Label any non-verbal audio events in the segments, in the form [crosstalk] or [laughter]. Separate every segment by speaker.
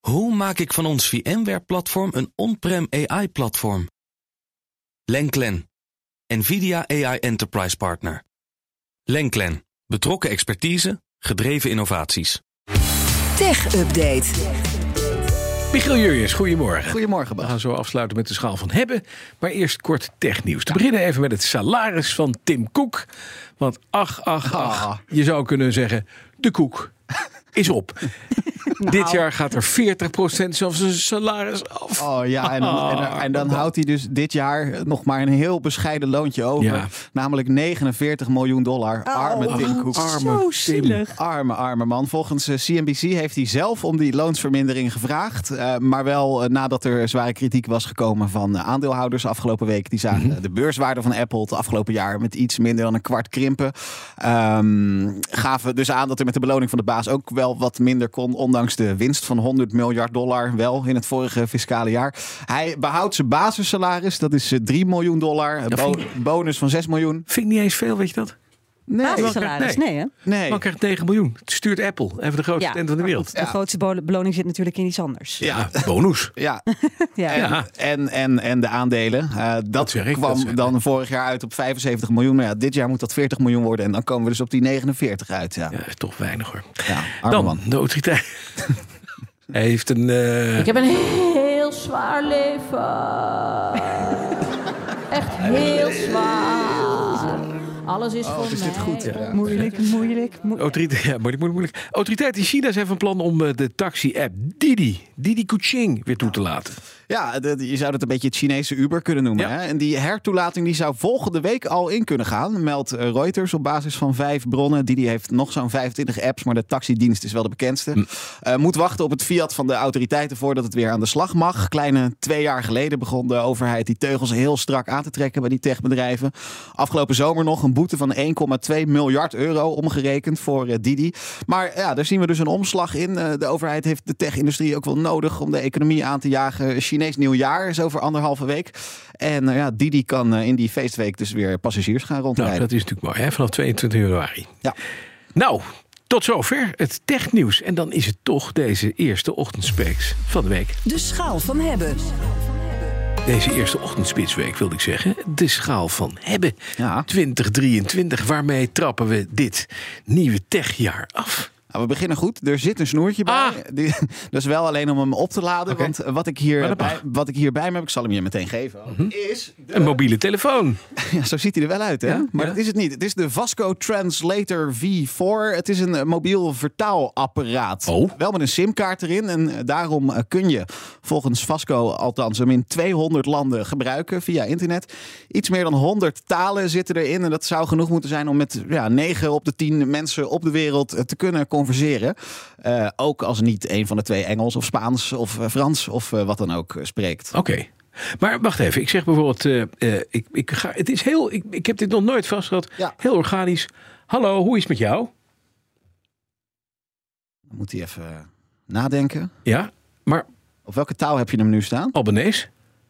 Speaker 1: Hoe maak ik van ons VMware-platform een on-prem AI-platform? Lenklen, NVIDIA AI Enterprise Partner. Lenklen, betrokken expertise, gedreven innovaties.
Speaker 2: Tech Update.
Speaker 3: Michiel Jurjens, goedemorgen.
Speaker 4: Goedemorgen,
Speaker 3: We
Speaker 4: Bas.
Speaker 3: gaan zo afsluiten met de schaal van hebben. Maar eerst kort technieuws. Te beginnen even met het salaris van Tim Cook. Want ach, ach, ach.
Speaker 4: Ah.
Speaker 3: Je zou kunnen zeggen, de koek is
Speaker 4: [laughs]
Speaker 3: op. Dit
Speaker 4: Nou.
Speaker 3: jaar gaat er 40% zelfs zijn salaris af.
Speaker 4: Oh ja, en dan, en, dan- en dan houdt hij dus dit jaar nog maar een heel bescheiden loontje over.
Speaker 3: Ja.
Speaker 4: Namelijk 49 miljoen dollar. Arme Tim Cook.
Speaker 3: Arme Tim.
Speaker 2: Zo zielig.
Speaker 4: Arme, arme man. Volgens eh, CNBC heeft hij zelf om die loonsvermindering gevraagd. eh, maar wel eh, nadat er zware kritiek was gekomen van eh, aandeelhouders afgelopen week. Die zagen eh, de beurswaarde van Apple het afgelopen jaar met iets minder dan een kwart krimpen. Ehm, gaven dus aan dat er met de beloning van de baas ook wel wat minder kon. Ondanks de winst van 100 miljard dollar wel in het vorige fiscale jaar. Hij behoudt zijn basissalaris. Dat is eh, 3 miljoen dollar. Een
Speaker 3: Dat
Speaker 4: bo-
Speaker 3: vind
Speaker 4: bonus van 6 miljoen.
Speaker 3: Vind ik niet eens veel, weet je dat?
Speaker 4: Nee.
Speaker 2: Basissalaris,
Speaker 3: Nee.
Speaker 2: nee hè?
Speaker 4: Nee.
Speaker 3: Man krijgt 9 miljoen. Het stuurt Apple, even de grootste tent van de
Speaker 2: maar
Speaker 3: wereld.
Speaker 2: goed, De grootste bol- beloning zit natuurlijk in iets anders. Ja.
Speaker 3: Ja, bonus.
Speaker 4: Ja,
Speaker 2: Ja.
Speaker 3: Ja.
Speaker 4: En, en, en de aandelen. Eh, dat
Speaker 3: zeg ik, dat
Speaker 4: kwam
Speaker 3: zeg ik.
Speaker 4: dan vorig jaar uit op 75 miljoen. Maar ja, dit jaar moet dat 40 miljoen worden. En dan komen we dus op die 49 uit. Ja, ja.
Speaker 3: Ja, is toch weinig hoor.
Speaker 4: arme
Speaker 3: Dan,
Speaker 4: man.
Speaker 3: de autoriteit.
Speaker 4: [laughs]
Speaker 3: Hij heeft een... eh,
Speaker 5: Ik heb een heel zwaar leven. Echt heel zwaar. Alles is voor mij.
Speaker 2: Moeilijk, moeilijk.
Speaker 4: Nou
Speaker 2: moe-
Speaker 3: Autoriteit, [laughs] ja, moeilijk, moeilijk, moeilijk. Autoriteiten in China zijn van plan om eh, de taxi-app Didi, Didi Kuching, weer toe te laten.
Speaker 4: Ja, de- de- je zou dat een beetje het Chinese Uber kunnen noemen.
Speaker 3: Ja.
Speaker 4: Hè? En die hertoelating die zou volgende week al in kunnen gaan, meldt eh, Reuters op basis van vijf bronnen. Die, die heeft nog zo'n 25 apps, maar de taxidienst is wel de bekendste.
Speaker 3: Hm.
Speaker 4: Eh, moet wachten op het fiat van de autoriteiten voordat het weer aan de slag mag. Kleine twee jaar geleden begon de overheid die teugels heel strak aan te trekken bij die techbedrijven. Afgelopen zomer nog een boete van 1,2 miljard euro omgerekend voor eh, Didi. Maar ja, daar zien we dus een omslag in. Eh, de overheid heeft de tech-industrie ook wel nodig om de economie aan te jagen. Chinees nieuwjaar is over anderhalve week. En eh, ja, Didi kan eh, in die feestweek dus weer passagiers gaan
Speaker 3: Nou,
Speaker 4: rondrijden.
Speaker 3: dat is natuurlijk mooi, hè? vanaf 22 januari.
Speaker 4: Ja.
Speaker 3: Nou, tot zover het technieuws. En dan is het toch deze eerste ochtendspeaks van de week.
Speaker 2: De schaal van hebben.
Speaker 3: Deze eerste ochtendspitsweek wilde ik zeggen. De schaal van hebben.
Speaker 4: Ja.
Speaker 3: 2023, waarmee trappen we dit nieuwe techjaar af?
Speaker 4: Nou, we beginnen goed. Er zit een snoertje bij.
Speaker 3: Ah.
Speaker 4: [laughs] Die, dat is wel alleen om hem op te laden.
Speaker 3: Oké.
Speaker 4: Want eh, wat ik, hier
Speaker 3: dat
Speaker 4: bij,
Speaker 3: mag. Mhm.
Speaker 4: wat ik hier bij me heb, ik zal hem je meteen geven. ook, Is de-
Speaker 3: Een mobiele telefoon.
Speaker 4: Ja, zo ziet hij er wel uit, hè?
Speaker 3: Ja,
Speaker 4: maar
Speaker 3: ja.
Speaker 4: dat is het niet. Het is de Vasco Translator V4. Het is een eh, mobiel vertaalapparaat.
Speaker 3: Oh.
Speaker 4: Wel met een simkaart erin. En eh, daarom eh, kun je volgens Vasco althans hem in 200 landen gebruiken via internet. Iets meer dan 100 talen zitten erin. En dat zou genoeg moeten zijn om met ja, 9 op de 10 mensen op de wereld eh, te kunnen converseren. Eh, ook als niet een van de twee Engels of Spaans of eh, Frans of eh, wat dan ook eh, spreekt.
Speaker 3: Oké. Maar wacht even, ik zeg bijvoorbeeld, eh, eh, ik, ik ga, het is heel, ik, ik heb dit nog nooit vastgehad,
Speaker 4: Ja.
Speaker 3: heel organisch. Hallo, hoe is het met jou?
Speaker 4: Dan moet hij even eh, nadenken.
Speaker 3: Ja, maar
Speaker 4: Op welke taal heb je hem nu staan?
Speaker 3: Albanese.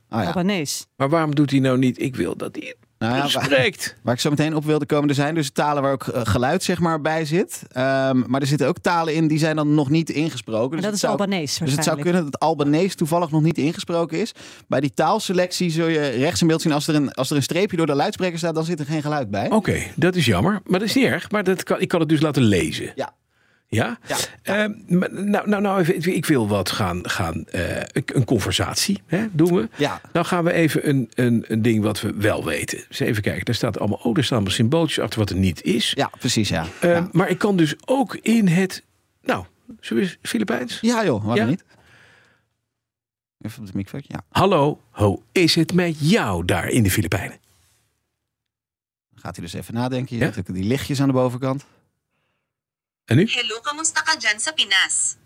Speaker 4: Ah ja.
Speaker 2: Albanese.
Speaker 3: Maar waarom doet hij nou niet, ik wil dat hij het
Speaker 4: Nou ja,
Speaker 3: goed
Speaker 4: waar-
Speaker 3: spreekt?
Speaker 4: Waar ik zo meteen op wilde komen, er zijn dus talen waar ook eh, geluid zeg maar, bij zit. Ehm, maar er zitten ook talen in die zijn dan nog niet ingesproken.
Speaker 2: Maar
Speaker 4: Dus
Speaker 2: dat
Speaker 4: het
Speaker 2: is
Speaker 4: zou-
Speaker 2: Albanese
Speaker 4: Dus het zou
Speaker 2: waarschijnlijk.
Speaker 4: kunnen dat Albanees toevallig nog niet ingesproken is. Bij die taalselectie zul je rechts in beeld zien, als er een, als er een streepje door de luidspreker staat, dan zit er geen geluid bij.
Speaker 2: Oh.
Speaker 3: Oké, dat is jammer, maar dat is niet erg. Maar dat kan, ik kan het dus laten lezen.
Speaker 4: Ja.
Speaker 3: Ja?
Speaker 4: Ja.
Speaker 3: Ehm, maar nou, nou, nou even, ik wil wat gaan, gaan eh, een- een conversatie hè, doen we.
Speaker 4: Ja.
Speaker 3: Nou gaan we even een, een, een ding wat we wel weten. Dus even kijken, daar staat allemaal, oh, daar staan allemaal symbooltjes achter wat er niet is.
Speaker 4: Ja, precies ja.
Speaker 3: Eh,
Speaker 4: ja.
Speaker 3: Maar ik kan dus ook in het. Nou, zullen we eens Filipijns?
Speaker 4: Ja, joh,
Speaker 3: Ja?
Speaker 4: waarom niet? Even op de microfoon, ja.
Speaker 3: Hallo, hoe is het met jou daar in de Filipijnen?
Speaker 4: Dan gaat hij dus even nadenken. Je
Speaker 3: Ja?
Speaker 4: ziet ook die lichtjes aan de bovenkant.
Speaker 3: En nu?
Speaker 6: Hello, kamusta ka dyan sa Pinas?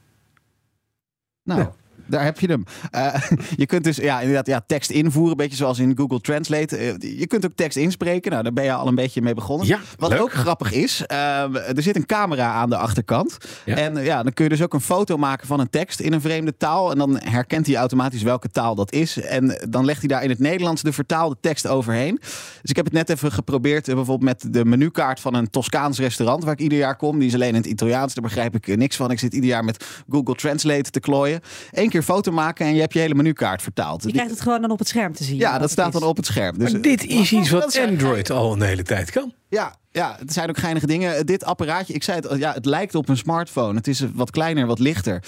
Speaker 3: [laughs]
Speaker 4: Nou, daar heb je hem. Eh, [laughs] je kunt dus ja, inderdaad ja, tekst invoeren, een beetje zoals in Google Translate. Eh, je kunt ook tekst inspreken. Nou, daar ben je al een beetje mee begonnen.
Speaker 3: Ja,
Speaker 4: Wat
Speaker 3: leuk.
Speaker 4: ook grappig is, ehm, er zit een camera aan de achterkant.
Speaker 3: Ja.
Speaker 4: En eh, ja, dan kun je dus ook een foto maken van een tekst in een vreemde taal. En dan herkent hij automatisch welke taal dat is. En dan legt hij daar in het Nederlands de vertaalde tekst overheen. Dus ik heb het net even geprobeerd, eh, bijvoorbeeld met de menukaart van een Toscaans restaurant waar ik ieder jaar kom. Die is alleen in het Italiaans, daar begrijp ik eh, niks van. Ik zit ieder jaar met Google Translate te klooien. Eén keer foto maken en je hebt je hele menukaart vertaald.
Speaker 2: Je
Speaker 4: Die-
Speaker 2: krijgt het gewoon dan op het scherm te zien.
Speaker 4: ja,
Speaker 2: wat
Speaker 4: dat
Speaker 2: het
Speaker 4: staat
Speaker 2: is.
Speaker 4: dan op het scherm. Dus,
Speaker 3: Maar dit is iets
Speaker 4: dat
Speaker 3: wat
Speaker 4: is-
Speaker 3: Android al een hele tijd kan.
Speaker 4: Ja, ja, het zijn ook geinige dingen. Eh, Dit apparaatje, ik zei het, al, ja, het lijkt op een smartphone. Het is eh, wat kleiner, wat lichter.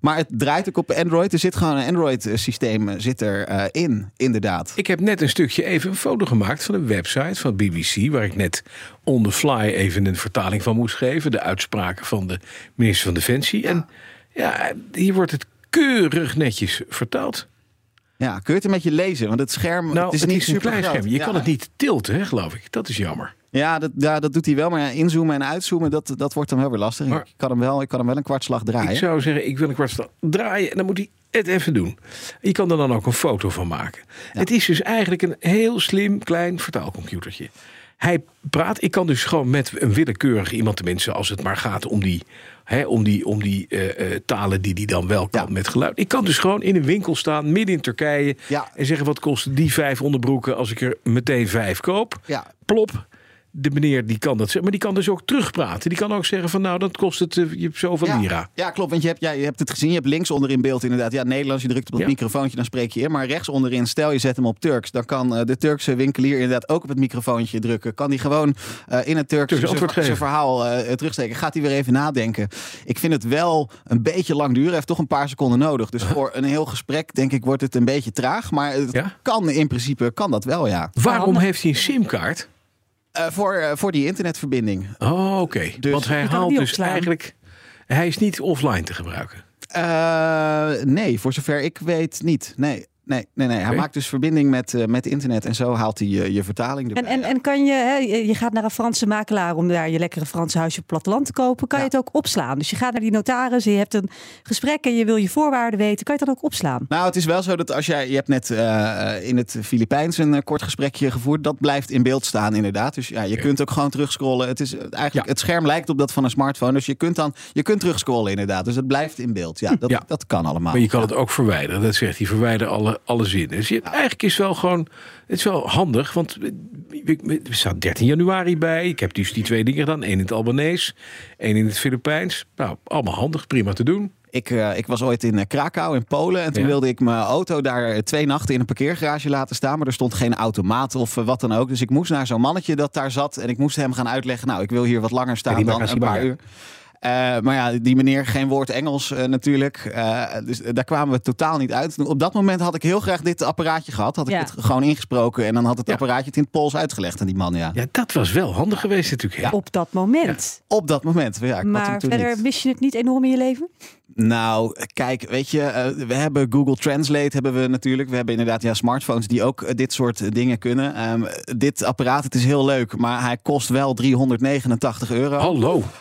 Speaker 4: Maar het draait ook op Android. Er zit gewoon een Android-systeem zit er, eh, in, inderdaad.
Speaker 3: Ik heb net een stukje even een foto gemaakt van een website van BBC... waar ik net on the fly even een vertaling van moest geven. De uitspraken van de minister van Defensie. En ja, hier wordt het keurig netjes vertaald.
Speaker 4: Ja, kun je het een beetje lezen? Want het scherm
Speaker 3: Nou,
Speaker 4: het is niet
Speaker 3: een
Speaker 4: supergroot.
Speaker 3: klein scherm. Je
Speaker 4: ja.
Speaker 3: kan het niet tilten, hè, geloof ik. Dat is jammer.
Speaker 4: Ja dat, ja, dat doet hij wel. Maar ja, inzoomen en uitzoomen, dat, dat wordt dan wel weer lastig.
Speaker 3: Maar-
Speaker 4: ik, kan hem wel, ik kan hem wel een kwartslag draaien.
Speaker 3: Ik zou zeggen, ik wil een kwartslag draaien. En dan moet hij het even doen. Je kan er dan ook een foto van maken. Het is dus eigenlijk een heel slim klein vertaalcomputertje. Hij praat. Ik kan dus gewoon met een willekeurig iemand, tenminste, als het maar gaat om die, hè, om die, om die eh, eh, talen die hij dan wel kan
Speaker 4: Ja.
Speaker 3: met geluid. Ik kan dus gewoon in een winkel staan, midden in Turkije.
Speaker 4: Ja.
Speaker 3: En zeggen: wat kosten die vijf onderbroeken als ik er meteen vijf koop?
Speaker 4: Ja.
Speaker 3: Plop. De meneer die kan dat zeggen, maar die kan dus ook terugpraten. Die kan ook zeggen: van nou, dat kost het eh, je zoveel
Speaker 4: ja,
Speaker 3: lira.
Speaker 4: Ja, klopt. Want je hebt, ja, je hebt het gezien. Je hebt links onder in beeld inderdaad. Ja, Nederlands. Je drukt op het
Speaker 3: Ja.
Speaker 4: microfoontje, dan spreek je in. Maar rechts onderin, stel je zet hem op Turks. Dan kan eh, de Turkse winkelier inderdaad ook op het microfoontje drukken. Kan die gewoon eh, in het Turks
Speaker 3: Turks
Speaker 4: zijn-
Speaker 3: antwoord
Speaker 4: zijn
Speaker 3: geven.
Speaker 4: verhaal eh, terugsteken. Gaat hij weer even nadenken. Ik vind het wel een beetje lang duren. Hij heeft toch een paar seconden nodig. Dus voor een heel gesprek, denk ik, wordt het een beetje traag. Maar het
Speaker 3: Ja?
Speaker 4: kan in principe, kan dat wel, ja.
Speaker 3: Waarom
Speaker 2: Handig.
Speaker 3: heeft hij een simkaart?
Speaker 4: Eh, voor, eh, voor die internetverbinding.
Speaker 3: Oh, oké.
Speaker 4: Dus-
Speaker 3: Want hij
Speaker 2: Je kan
Speaker 3: haalt
Speaker 2: die
Speaker 3: dus
Speaker 2: opslaan.
Speaker 3: eigenlijk... Hij is niet offline te gebruiken.
Speaker 4: Eh, nee, voor zover ik weet niet. Nee, nee, nee. nee. Hij
Speaker 3: Oké.
Speaker 4: maakt dus verbinding met, eh, met internet en zo haalt hij je, je vertaling erbij.
Speaker 2: En, en, en kan je, hè, je je gaat naar een Franse makelaar om daar je lekkere Franse huisje op het platteland te kopen. Kan
Speaker 4: Ja.
Speaker 2: je het ook opslaan? Dus je gaat naar die notaris, je hebt een gesprek en je wil je voorwaarden weten. Kan je dat ook opslaan?
Speaker 4: Nou, het is wel zo dat als jij... Je hebt net eh, eh, in het Filipijns een eh, kort gesprekje gevoerd. Dat blijft in beeld staan inderdaad. Dus ja, je
Speaker 3: Oké.
Speaker 4: kunt ook gewoon terugscrollen. Het, is eh, eigenlijk,
Speaker 3: Ja.
Speaker 4: het scherm lijkt op dat van een smartphone. Dus je kunt, dan, je kunt terugscrollen inderdaad. Dus het blijft in beeld. Ja, dat,
Speaker 3: Ja.
Speaker 4: dat kan allemaal.
Speaker 3: Maar je kan het ook verwijderen. Dat zegt hij, verwijder alle, alle zinnen. Dus je- eigenlijk is wel gewoon... Het is wel handig, want ik- ik- er staat 13 januari bij. Ik heb dus die twee dingen gedaan. Eén in het Albanees, één in het Filipijns. Nou, allemaal handig, prima te doen.
Speaker 4: Ik, eh, ik was ooit in eh, Krakau in Polen. En toen
Speaker 3: Ja.
Speaker 4: wilde ik mijn auto daar eh, twee nachten in een parkeergarage laten staan. Maar er stond geen automaat of eh, wat dan ook. Dus ik moest naar zo'n mannetje dat daar zat. En ik moest hem gaan uitleggen. Nou, ik wil hier wat langer staan
Speaker 3: die
Speaker 4: dan
Speaker 3: bagage
Speaker 4: een paar
Speaker 3: bagger.
Speaker 4: uur. Eh, maar ja, die meneer, geen woord Engels eh, natuurlijk. Eh, dus daar kwamen we totaal niet uit. Op dat moment had ik heel graag dit apparaatje gehad. Had ik
Speaker 2: Ja.
Speaker 4: het gewoon ingesproken. En dan had het
Speaker 3: Ja.
Speaker 4: apparaatje het in het Pools uitgelegd aan die man. Ja.
Speaker 3: Ja, dat was wel handig geweest natuurlijk. hè?
Speaker 2: Op dat moment.
Speaker 4: Op dat moment. Ja, ik had hem
Speaker 2: maar
Speaker 4: toen
Speaker 2: verder
Speaker 4: niet.
Speaker 2: mis je het niet enorm in je leven?
Speaker 4: Nou, kijk, weet je, eh, we hebben Google Translate hebben we natuurlijk. We hebben inderdaad ja, smartphones die ook eh, dit soort eh, dingen kunnen. Ehm, dit apparaat, het is heel leuk, maar hij kost wel 389 euro.
Speaker 3: Hallo.
Speaker 4: [laughs]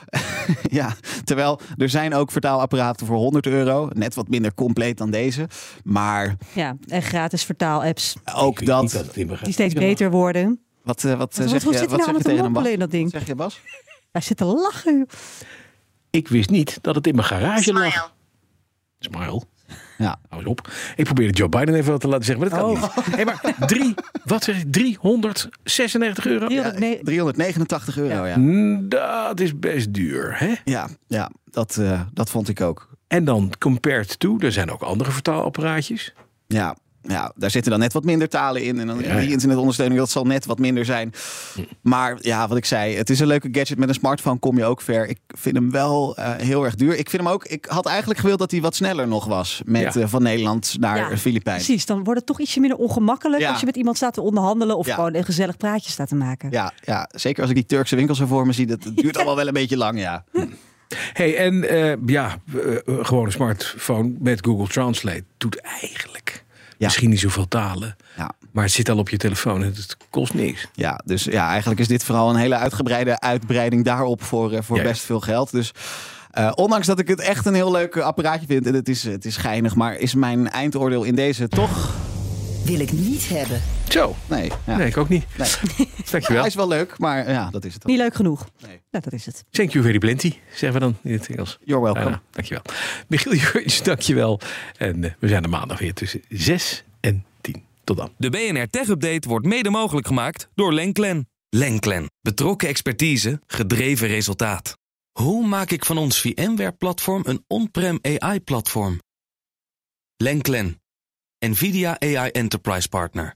Speaker 4: Ja, terwijl er zijn ook vertaalapparaten voor 100 euro. Net wat minder compleet dan deze. Maar
Speaker 2: Ja, en gratis vertaalapps
Speaker 4: ook dat...
Speaker 3: Niet het in
Speaker 2: die
Speaker 3: begrijpt.
Speaker 2: steeds beter worden.
Speaker 4: Wat, eh, wat, eh,
Speaker 2: Want
Speaker 4: zeg
Speaker 2: hoe
Speaker 4: je,
Speaker 2: zit hij
Speaker 4: wat zeg
Speaker 2: nou
Speaker 4: je
Speaker 2: aan te
Speaker 4: tegen hem, Bas?
Speaker 2: mompelen in dat ding?
Speaker 4: Zeg je, Bas?
Speaker 2: Hij zit te lachen. joh.
Speaker 3: Ik wist niet dat het in mijn garage lag. Smile.
Speaker 4: Ja.
Speaker 3: Hou eens op. Ik probeerde Joe Biden even wat te laten zeggen, maar dat kan
Speaker 4: Oh.
Speaker 3: niet. Hey, maar drie, wat zeg je, 396 euro?
Speaker 4: Ja,
Speaker 2: Nee,
Speaker 4: 389 euro, ja.
Speaker 3: Mm, Dat is best duur, hè?
Speaker 4: Ja, ja dat, eh, dat vond ik ook.
Speaker 3: En dan compared to, er zijn ook andere vertaalapparaatjes.
Speaker 4: Ja, ja, daar zitten dan net wat minder talen in. En dan
Speaker 3: Ja, Hm. ja.
Speaker 4: die internetondersteuning, dat zal net wat minder zijn. Maar ja, wat ik zei, het is een leuke gadget. Met een smartphone kom je ook ver. Ik vind hem wel eh, heel erg duur. Ik vind hem ook, ik had eigenlijk gewild dat hij wat sneller nog was. Met
Speaker 3: Ja.
Speaker 4: eh, van Nederland naar
Speaker 2: Ja,
Speaker 4: eh, Filipijnen.
Speaker 2: precies. Dan wordt het toch ietsje minder ongemakkelijk
Speaker 4: Ja.
Speaker 2: als je met iemand staat te onderhandelen of
Speaker 4: Ja.
Speaker 2: gewoon een gezellig praatje staat te maken.
Speaker 4: Ja, ja, zeker als ik die Turkse winkels zo voor me zie. Dat, dat duurt allemaal wel een beetje lang, ja.
Speaker 3: hey, en eh, ja, eh, eh, gewoon een smartphone met Google Translate doet eigenlijk misschien niet zoveel talen.
Speaker 4: Ja.
Speaker 3: Maar het zit al op je telefoon en het kost niks.
Speaker 4: Ja, dus ja, eigenlijk is dit vooral een hele uitgebreide uitbreiding daarop voor, eh, voor
Speaker 3: Ja, ja.
Speaker 4: best veel geld. Dus Eh, ondanks dat ik het echt een heel leuk eh, apparaatje vind en het is, het is geinig, maar is mijn eindoordeel in deze toch?
Speaker 6: Wil ik niet hebben.
Speaker 3: Zo.
Speaker 4: Nee. ja.
Speaker 3: Nee, ik ook niet.
Speaker 4: Nee. Ja,
Speaker 3: Dankjewel.
Speaker 4: [laughs] hij is wel leuk, maar eh, ja, dat is het. dan.
Speaker 2: Niet leuk genoeg.
Speaker 4: Nee.
Speaker 2: Nou, dat is het.
Speaker 3: Thank you very plenty, zeggen we dan in het Engels.
Speaker 4: You're welcome.
Speaker 3: Bijna. Dankjewel. Michiel Jurgens, dankjewel. En eh, we zijn er maandag weer tussen 6 en 10. Tot dan.
Speaker 1: De BNR Tech Update wordt mede mogelijk gemaakt door Lenklen. Lenklen. Betrokken expertise, gedreven resultaat. Hoe maak ik van ons VMware-platform een on-prem AI-platform? Lenklen. NVIDIA AI Enterprise Partner.